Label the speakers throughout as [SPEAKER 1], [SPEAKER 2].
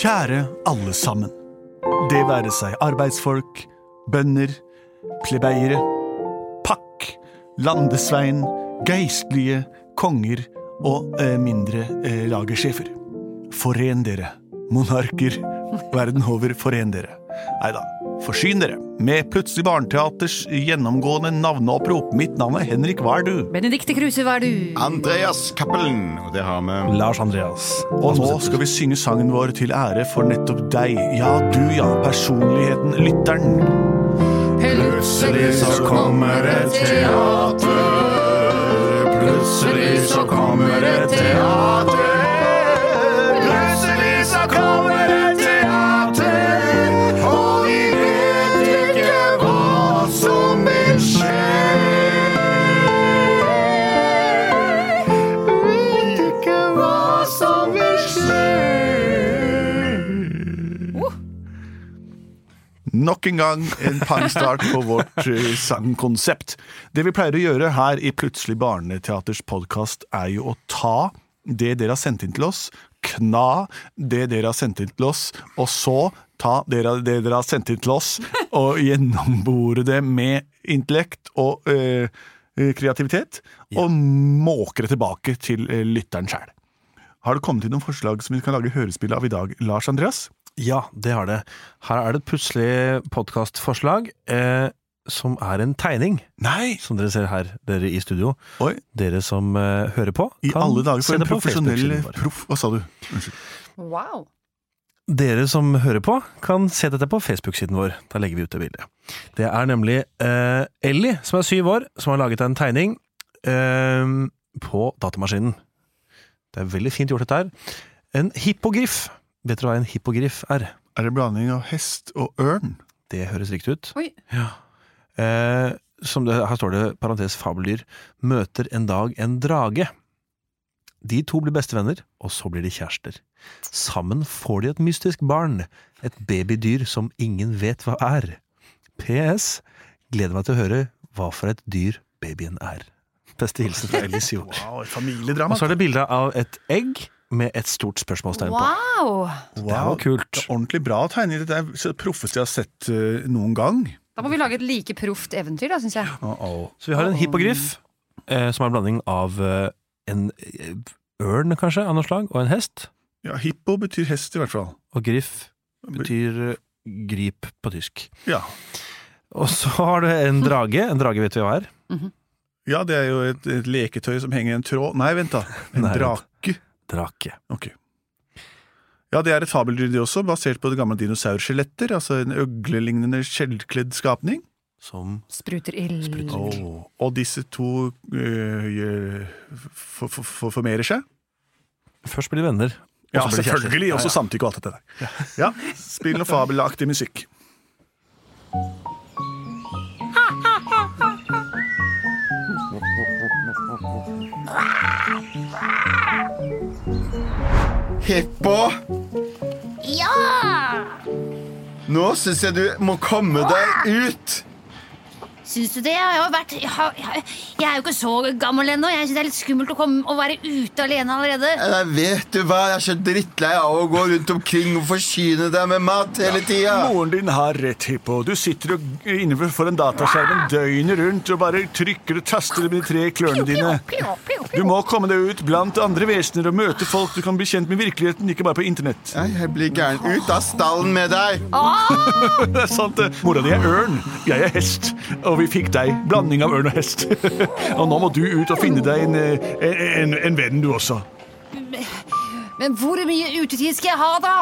[SPEAKER 1] Kjære alle sammen. Det være seg arbeidsfolk, bønder, plebeiere, pakk, landesvein, geistlige, konger og eh, mindre eh, lagersjefer. Foren dere. Monarker verden over, foren dere. Nei da, forsyn dere med Plutselig barneteaters gjennomgående navneopprop. Mitt navn er Henrik Wardu.
[SPEAKER 2] Benedicte Kruse, hva er du?
[SPEAKER 3] Andreas Cappelen, og det har vi.
[SPEAKER 4] Lars Andreas.
[SPEAKER 1] Og nå skal vi synge sangen vår til ære for nettopp deg. Ja, du, ja. Personligheten, lytteren.
[SPEAKER 3] Plutselig så kommer et teater. Plutselig så kommer et teater. Plutselig så kommer et teater. Og vi vet ikke hva som vil skje. Vet ikke hva som vil skje.
[SPEAKER 1] Nok en gang en pangstart på vårt eh, sangkonsept. Det vi pleier å gjøre her i Plutselig barneteaters podkast, er jo å ta det dere har sendt inn til oss, kna det dere har sendt inn til oss, og så ta dere, det dere har sendt inn til oss, og gjennombore det med intellekt og eh, kreativitet, og måke det tilbake til eh, lytteren sjæl. Har det kommet inn noen forslag som vi kan lage hørespill av i dag, Lars Andreas?
[SPEAKER 4] Ja, det har det. Her er det et plutselig podkastforslag eh, som er en tegning,
[SPEAKER 1] Nei!
[SPEAKER 4] som dere ser her, dere i studio.
[SPEAKER 1] Oi,
[SPEAKER 4] Dere som eh, hører på,
[SPEAKER 1] I alle dager,
[SPEAKER 4] se
[SPEAKER 1] for en
[SPEAKER 4] det på
[SPEAKER 1] profesjonell
[SPEAKER 4] Facebook-siden vår.
[SPEAKER 1] proff. Hva sa du? Unnskyld.
[SPEAKER 2] Wow.
[SPEAKER 4] Dere som hører på, kan se dette på Facebook-siden vår. Da legger vi ut det bildet. Det er nemlig eh, Ellie, som er syv år, som har laget en tegning eh, på datamaskinen. Det er veldig fint gjort, dette her. En hippogriff. Vet dere hva en hippogriff er?
[SPEAKER 1] Er det blanding av hest og ørn?
[SPEAKER 4] Det høres riktig ut.
[SPEAKER 2] Oi.
[SPEAKER 4] Ja. Eh, som det, her står det, parentes fabeldyr, møter en dag en drage. De to blir bestevenner, og så blir de kjærester. Sammen får de et mystisk barn, et babydyr som ingen vet hva er. PS. Gleder meg til å høre hva for et dyr babyen er. Beste hilsen fra Ellis Jord.
[SPEAKER 1] Wow, et
[SPEAKER 4] Og
[SPEAKER 1] familiedrama.
[SPEAKER 4] så er det bilde av et egg med et stort spørsmålstegn på.
[SPEAKER 2] wow!
[SPEAKER 1] wow,
[SPEAKER 4] Det var kult.
[SPEAKER 1] det er ordentlig bra tegning. Det er det proffeste jeg har sett eh, noen gang.
[SPEAKER 2] Da må vi lage et like proft eventyr, da, syns jeg.
[SPEAKER 4] Så vi har en hippogriff, eh, som er en blanding av eh, en eh, ørn, kanskje, av noe slag, og en hest.
[SPEAKER 1] Ja, Hippo betyr hest, i hvert fall.
[SPEAKER 4] Og griff betyr eh, grip på tysk.
[SPEAKER 1] Ja,
[SPEAKER 4] Og så har du en drage. En drage vet vi hva er.
[SPEAKER 1] ja det er jo et, et leketøy som henger i en tråd Nei, vent, da. En
[SPEAKER 4] Nei, vent.
[SPEAKER 1] drake.
[SPEAKER 4] Drake.
[SPEAKER 1] Ok. Ja, det er et fabeldyr, det også, basert på det gamle dinosaurskjeletter. Altså en øglelignende skjellkledd skapning.
[SPEAKER 4] Som
[SPEAKER 2] Spruter ild.
[SPEAKER 1] Åh, Og disse to eh, gjør- for- for- for- formerer seg.
[SPEAKER 4] først blir venner. og
[SPEAKER 1] Ja,
[SPEAKER 4] så blir de kjærester.
[SPEAKER 1] selvfølgelig. Også samtykke og alt dette der. Ja, Spill noe fabelaktig musikk.
[SPEAKER 3] Hippo,
[SPEAKER 5] Ja!
[SPEAKER 3] nå syns jeg du må komme deg ut.
[SPEAKER 5] Syns du det? Jeg, har jo vært, jeg, har, jeg- jeg er jo ikke så gammel ennå. Jeg syns det er litt skummelt å komme og være ute alene allerede.
[SPEAKER 3] Nei, vet du hva, jeg er så drittlei av å gå rundt omkring og forsyne deg med mat hele tida.
[SPEAKER 1] Moren din har rett, Hippo. Du sitter og innenfor en dataskjerm døgnet rundt og bare trykker og taster med de tre klørne dine. Du må komme deg ut blant andre vesener og møte folk du kan bli kjent med i virkeligheten, ikke bare på internett.
[SPEAKER 3] Nei, jeg blir gæren. Ut av stallen med deg!
[SPEAKER 1] Det er sant, det. Mora di er ørn, jeg er hest, og vi fikk deg. Blanding av ørn og hest. Og nå må du ut og finne deg en, eh, en, en, en venn, du også.
[SPEAKER 2] Men hvor mye utetid skal jeg ha, da?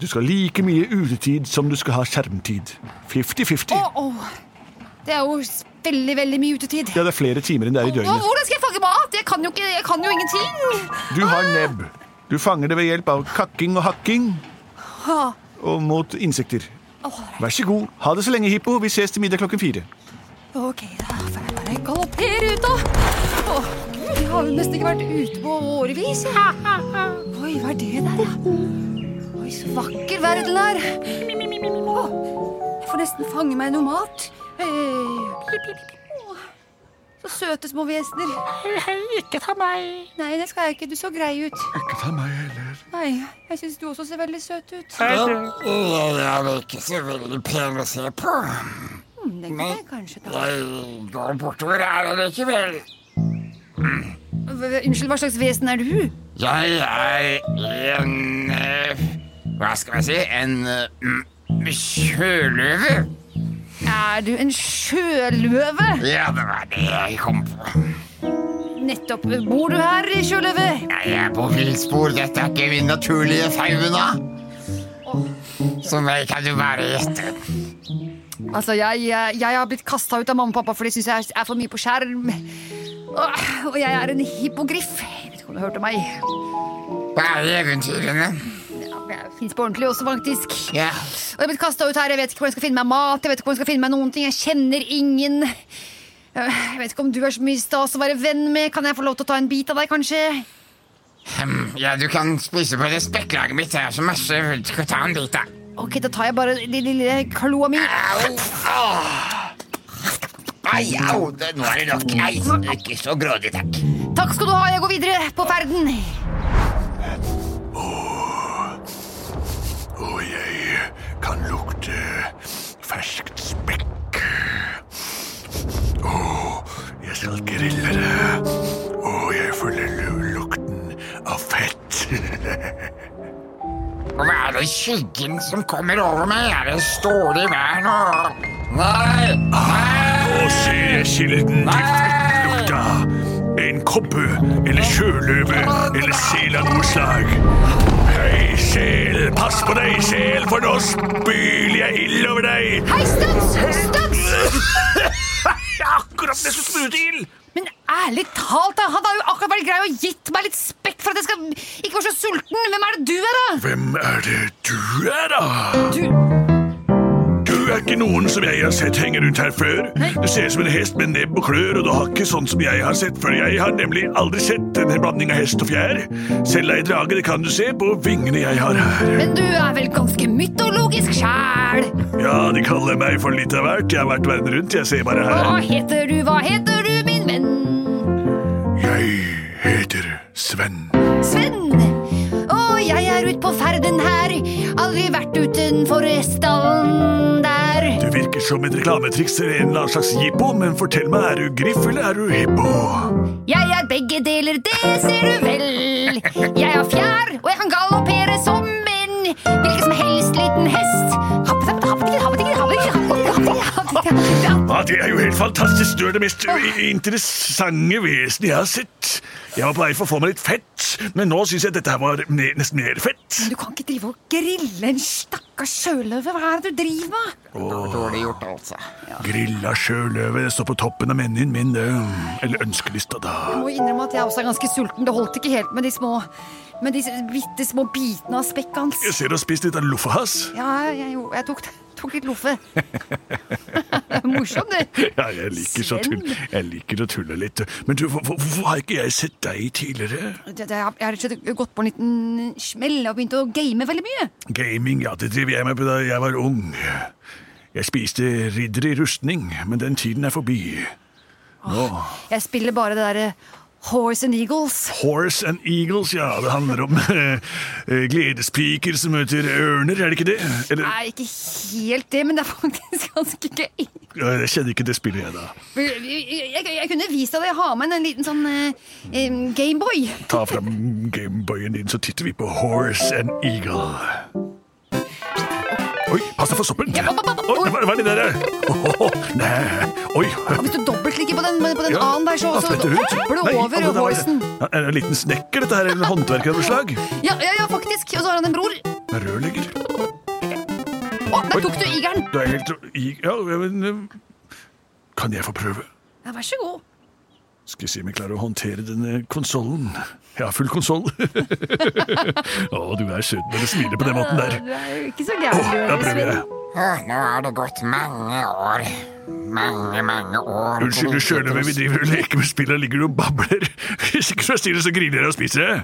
[SPEAKER 1] Du skal like mye utetid som du skal ha skjermtid. Fifty-fifty.
[SPEAKER 2] Å, å. Det er jo s- veldig, veldig mye utetid.
[SPEAKER 1] Ja, det er flere timer enn det er i
[SPEAKER 2] Hva-
[SPEAKER 1] døgnet.
[SPEAKER 2] Hvordan skal jeg fange mat? Jeg kan jo, ikke, jeg kan jo ingenting!
[SPEAKER 1] Du har nebb. Du fanger det ved hjelp av kakking og hakking og mot insekter. Vær så god. Ha det så lenge, Hippo. Vi ses til middag klokken fire.
[SPEAKER 2] Ok, da får jeg bare galoppere ut, da. Åh, Gud, jeg har jo nesten ikke vært ute på årevis. jeg. Oi, hva er det der, da? Oi, så vakker verden er. Åh, jeg får nesten fange meg noe mat. Hei. Åh, Så søte små vesener.
[SPEAKER 6] Ikke ta meg.
[SPEAKER 2] Nei, det skal jeg ikke. Du så grei ut.
[SPEAKER 3] Ikke ta meg heller.
[SPEAKER 2] Nei, jeg syns du også ser veldig søt ut.
[SPEAKER 6] Jeg er ikke så veldig pen å se på.
[SPEAKER 2] Hm, Det kan jeg kanskje ta.
[SPEAKER 6] Jeg går bortover her allikevel.
[SPEAKER 2] V- Unnskyld, hva slags vesen er du?
[SPEAKER 6] Jeg er en eh, Hva skal jeg si? En eh, mm, sjøløve.
[SPEAKER 2] Er du en sjøløve?
[SPEAKER 6] Ja, det var det jeg kom på.
[SPEAKER 2] Nettopp. Bor du her, sjøløve?
[SPEAKER 6] Jeg er på villspor. Dette er ikke min naturlige fauna. Så meg kan du bare gjette.
[SPEAKER 2] Altså, jeg, jeg, jeg har blitt kasta ut av mamma og pappa, for de syns jeg er for mye på skjerm. Åh, Og jeg er en hippogriff. Jeg vet ikke om du hørte meg.
[SPEAKER 6] Hva er eventyrene?
[SPEAKER 2] Ja, men Jeg fins på ordentlig også, faktisk.
[SPEAKER 6] Ja,
[SPEAKER 2] Og jeg er blitt kasta ut her. Jeg vet ikke hvor jeg skal finne meg mat. Jeg vet ikke hvor jeg skal finne meg noen ting. Jeg kjenner ingen. Øh, Jeg vet ikke om du er så mye stas å være venn med. Kan jeg få lov til å ta en bit av deg, kanskje?
[SPEAKER 6] hm, ja du kan spise på det spekklaget mitt. Det er så masse. Skal ta en bit, da.
[SPEAKER 2] Ok, da tar jeg bare den lille kloa mi.
[SPEAKER 6] Au! Ah. Ai, au! Det, nå er det nok. Nei, ikke så grådig, takk.
[SPEAKER 2] Takk skal du ha, jeg går videre på ferden.
[SPEAKER 3] Og jeg kan lukte eh, ferskt spekk. Og jeg skal grille det. Og jeg føler lu- lukten av fett.
[SPEAKER 6] Og hva er det skyggen som kommer over meg? Er det stålig vær nå? Nei! Nei!
[SPEAKER 3] Og ser jeg kilden til fettlukta. En kobbe eller sjøløve eller sel av noe slag. Hei, sel, pass på deg, sel, for nå spyler jeg ild over deg.
[SPEAKER 2] Hei, Stubbs! Stubbs!
[SPEAKER 3] Akkurat det som spruter ild!
[SPEAKER 2] Men ærlig talt, da, han har jo akkurat vært grei og gitt meg litt spekk for at jeg skal ikke være så sulten. Hvem er det du er, da?
[SPEAKER 3] Hvem er det du er, da?
[SPEAKER 2] Du,
[SPEAKER 3] Du er ikke noen som jeg har sett henge rundt her før. Du ser ut som en hest med nebb og klør, og du har ikke sånn som jeg har sett før. Jeg har nemlig aldri sett en blanding av hest og fjær. Selv ei drage, det kan du se på vingene jeg har her.
[SPEAKER 2] men du er vel ganske mytologisk sjæl?
[SPEAKER 3] Ja, de kaller meg for litt av hvert. Jeg har vært verden rundt, jeg ser bare
[SPEAKER 2] Hva
[SPEAKER 3] her.
[SPEAKER 2] heter du, hva heter du, min venn?
[SPEAKER 3] Jeg heter Sven.
[SPEAKER 2] Sven. Og jeg er ute på ferden her. Aldri vært utenfor stallen der.
[SPEAKER 3] Du virker som et reklametriks eller en eller annen slags jippo, men fortell meg, er du griff eller er du hippo?
[SPEAKER 2] Jeg er begge deler, det ser du vel. Jeg har fjær, og jeg kan galoppere som en hvilken som helst liten hest.
[SPEAKER 3] Ja, det er jo helt fantastisk. Du er det mest i- interessante vesenet jeg har sett. Jeg var på vei for å få meg litt fett, men nå syns jeg dette her var ne- nesten mer fett.
[SPEAKER 2] Du kan ikke drive og grille en stakkars sjøløve. Hva er det du driver med?
[SPEAKER 6] Dårlig gjort, altså.
[SPEAKER 3] Grilla sjøløve det står på toppen av menyen min, det. Eller ønskelista, da.
[SPEAKER 2] Jeg må innrømme at jeg også er ganske sulten. Det holdt ikke helt med de små med de bitte små bitene av spekket
[SPEAKER 3] Jeg
[SPEAKER 2] hans.
[SPEAKER 3] ser du har spist litt av loffa hans.
[SPEAKER 2] Ja, jeg, gjorde- jeg tok, tok litt loffe. Morsomt, det.
[SPEAKER 3] Ja, jeg liker, så tull, jeg liker å tulle litt. Men du, hvor- hvor- hvorfor har ikke jeg sett deg tidligere?
[SPEAKER 2] Jeg jeg har rett og slett gått på en liten smell og begynt å game veldig mye.
[SPEAKER 3] Gaming, ja, det drev jeg med da jeg var ung. Jeg spiste ridder i rustning, men den tiden er forbi. Nå,
[SPEAKER 2] Jeg spiller bare det derre Horse and Eagles.
[SPEAKER 3] Horse and Eagles, ja, det handler om eh, gledespiker som møter ørner, er det ikke det? Eller,
[SPEAKER 2] Nei, ikke helt det, men det er faktisk ganske gøy.
[SPEAKER 3] eh, jeg kjenner ikke det spillet jeg da.
[SPEAKER 2] Jeg, jeg, jeg kunne vist deg det. Jeg har med en liten sånn eh, em, Gameboy.
[SPEAKER 3] Ta fram Gameboyen din, så titter vi på Horse and Eagle. Oi, pass deg for soppen!
[SPEAKER 2] Ja, ba, ba, ba, ba.
[SPEAKER 3] Oi, hva, hva er det der? Åhå, nei, oi.
[SPEAKER 2] Hvis du dobbeltklikker på den, på den annen der, så,
[SPEAKER 3] Ja,
[SPEAKER 2] så
[SPEAKER 3] fletter ut.
[SPEAKER 2] hopper
[SPEAKER 3] Nei, altså,
[SPEAKER 2] du over
[SPEAKER 3] det der var-
[SPEAKER 2] horsen.
[SPEAKER 3] Ja, Er det en liten snekker, dette her? En håndverker av noe slag?
[SPEAKER 2] Ja, ja, ja, faktisk. Og så har han en bror. Å,
[SPEAKER 3] En Rørlegger?
[SPEAKER 2] der tok du igeren.
[SPEAKER 3] Du er helt i... Ja, men eh, Kan jeg få prøve?
[SPEAKER 2] Ja, vær så god.
[SPEAKER 3] Skal vi se om jeg klarer å håndtere denne konsollen. Jeg har full konsoll. Å, du er søt når du smiler på den måten der.
[SPEAKER 2] Du er jo ikke så gæren, du
[SPEAKER 3] Da
[SPEAKER 2] heller,
[SPEAKER 3] prøver
[SPEAKER 2] Svend.
[SPEAKER 3] jeg.
[SPEAKER 6] Åh, nå har det gått mange år. Mange, mange år.
[SPEAKER 3] Unnskyld, du skjønner hvem vi driver og leker med spill og ligger og babler. Hvis ikke så stille, så griner jeg og spiser jeg.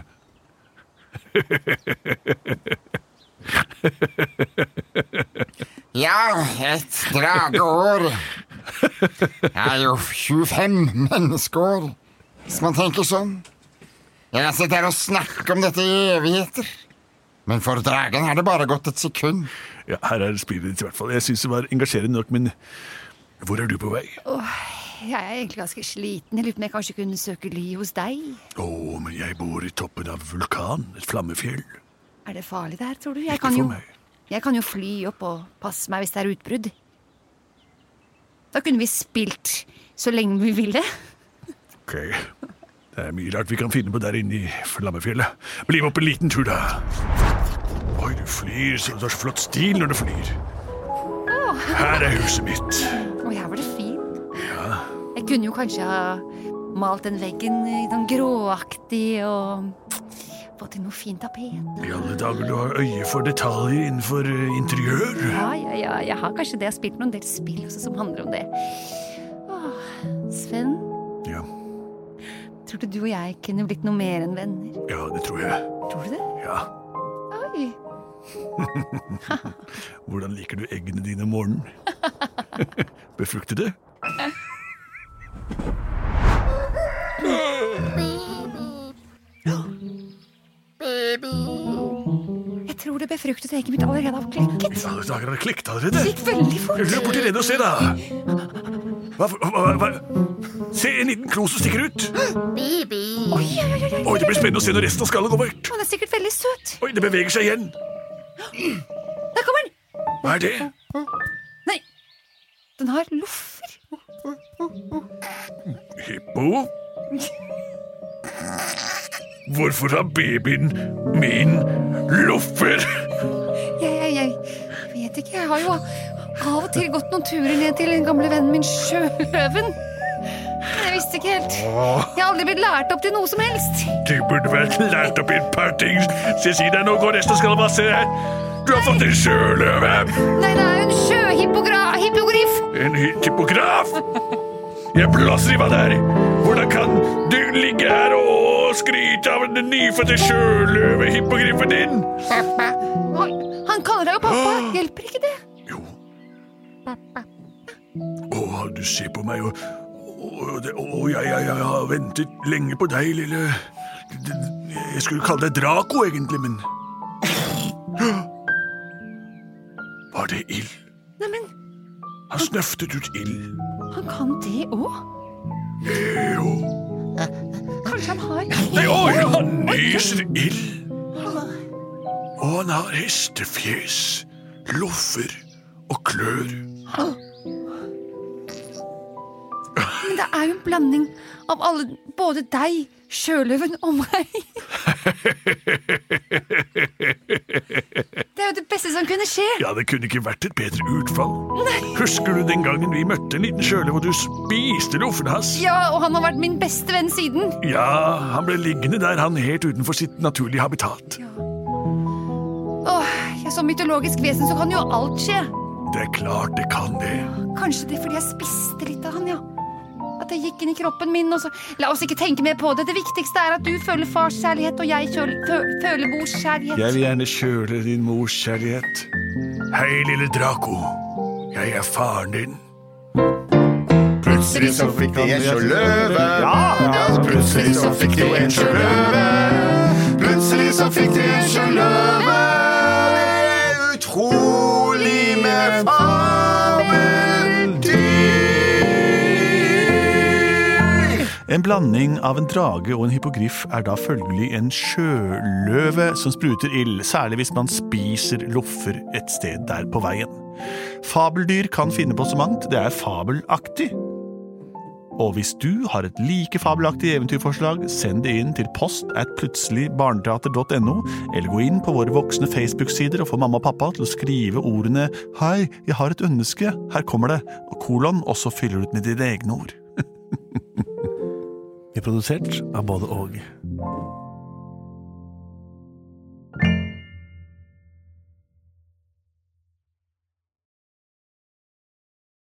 [SPEAKER 6] Ja, et drageår. Jeg er jo 25 menneskeår, hvis man tenker sånn. Jeg har sittet her og snakket om dette i evigheter. Men for dragen har det bare gått et sekund.
[SPEAKER 3] Ja, her er spillet ditt i hvert fall. Jeg syns det var engasjerende nok, men hvor er du på vei? Å,
[SPEAKER 2] Jeg er egentlig ganske sliten. Jeg lurer på om jeg kanskje kunne søke ly hos deg?
[SPEAKER 3] men jeg bor i toppen av vulkan, et flammefjell.
[SPEAKER 2] Er det farlig der, tror du? Jeg
[SPEAKER 3] Ikke
[SPEAKER 2] kan
[SPEAKER 3] for
[SPEAKER 2] jo,
[SPEAKER 3] meg.
[SPEAKER 2] jeg kan jo fly opp og passe meg hvis det er utbrudd. Da kunne vi spilt så lenge vi ville.
[SPEAKER 3] Ok, det er mye rart vi kan finne på der inne i flammefjellet. Bli med opp en liten tur, da. Oi, du flyr, så du har så flott stil når du flyr. Her er huset mitt.
[SPEAKER 2] Og her var det fint. Jeg kunne jo kanskje ha malt den veggen i sånn gråaktig og fått til noe fint tapet.
[SPEAKER 3] I alle dager, du har øye for detaljer innenfor eh, interiør.
[SPEAKER 2] Ja, ja, ja, jeg har kanskje det. Jeg har spilt noen del spill også som handler om det. Åh, Sven,
[SPEAKER 3] Ja,
[SPEAKER 2] tror du du og jeg kunne blitt noe mer enn venner?
[SPEAKER 3] ja, det tror jeg.
[SPEAKER 2] Tror du det?
[SPEAKER 3] Ja.
[SPEAKER 2] Oi.
[SPEAKER 3] Hvordan liker du eggene dine om morgenen? Befruktede?
[SPEAKER 2] Jeg tror det befruktede egget mitt allerede har klekket.
[SPEAKER 3] I alle dager har det klekt allerede.
[SPEAKER 2] Det gikk veldig fort.
[SPEAKER 3] Løp bort til redet og se, da! Hva, for- hva, hva? Se, en liten klo som stikker ut!
[SPEAKER 2] Oi, oi, oi, oi, oi.
[SPEAKER 3] Oi, Det blir spennende å se når resten av skallet kommer ut.
[SPEAKER 2] Han er sikkert veldig søt.
[SPEAKER 3] Oi, det beveger seg igjen.
[SPEAKER 2] Der kommer den!
[SPEAKER 3] Hva er det?
[SPEAKER 2] Nei, den har loffer.
[SPEAKER 3] Hippo? Hvorfor har babyen min loffer?
[SPEAKER 2] Jeg, jeg, jeg vet ikke. Jeg har jo av og til gått noen turer ned til den gamle vennen min Sjørøven. Men jeg visste ikke helt. Jeg har aldri blitt lært opp til noe som helst.
[SPEAKER 3] Du burde vært lært opp i et par ting. Se, si deg, nå går resten av skallet masse her. Du har fått en sjøløve!
[SPEAKER 2] Nei, det er jo en sjøhippogriff.
[SPEAKER 3] En typograf! Jeg blåser i hva det er. Hvordan kan du ligge her og skryte av den nyfødte sjøløvehippogriffen din?
[SPEAKER 2] Oi, Han kaller deg jo pappa. Hjelper ikke det?
[SPEAKER 3] Jo. Å, du ser på meg og Å, det- å, jeg, jeg, jeg har ventet lenge på deg, lille Jeg skulle kalle deg Draco, egentlig, men Var det ild?
[SPEAKER 2] Neimen,
[SPEAKER 3] Han snøftet ut ild.
[SPEAKER 2] han kan det òg.
[SPEAKER 3] Jo.
[SPEAKER 2] Kanskje han har
[SPEAKER 3] Nei, oi, han nyser ild. Og han har hestefjes, loffer og klør.
[SPEAKER 2] Men det er jo en blanding av alle, både deg, sjøløven og meg. Det er jo det beste som kunne skje.
[SPEAKER 3] Ja, det kunne ikke vært et bedre utfall. Husker du den gangen vi møtte en liten sjøle hvor du spiste loffen hans?
[SPEAKER 2] Ja, og han har vært min beste venn siden.
[SPEAKER 3] Ja, han ble liggende der, han helt utenfor sitt naturlige habitat.
[SPEAKER 2] Åh, ja, Som mytologisk vesen så kan jo alt skje.
[SPEAKER 3] Det er klart det kan det.
[SPEAKER 2] Kanskje det er fordi jeg spiste litt av han, ja. At det gikk inn i kroppen min. og så... La oss ikke tenke mer på det. Det viktigste er at du føler fars kjærlighet, og jeg kjøl, fø, føler mors kjærlighet.
[SPEAKER 3] Jeg vil gjerne kjøle din mors kjærlighet. Hei, lille Draco. Jeg er faren din.
[SPEAKER 7] Plutselig så fikk de en sjøløve. Ja, plutselig så fikk de en sjøløve. Plutselig så fikk de en sjøløve. Utrolig med fabeldyr.
[SPEAKER 1] En blanding av en drage og en hippogriff er da følgelig en sjøløve som spruter ild, særlig hvis man spiser loffer et sted der på veien. Fabeldyr kan finne på så mangt, det er fabelaktig. Og hvis du har et like fabelaktig eventyrforslag, send det inn til post at plutseligbarneteater.no, eller gå inn på våre voksne Facebook-sider og få mamma og pappa til å skrive ordene 'Hei, jeg har et ønske, her kommer det', og kolon, og så fyller du ut med dine egne ord.
[SPEAKER 4] Vi er produsert av både og.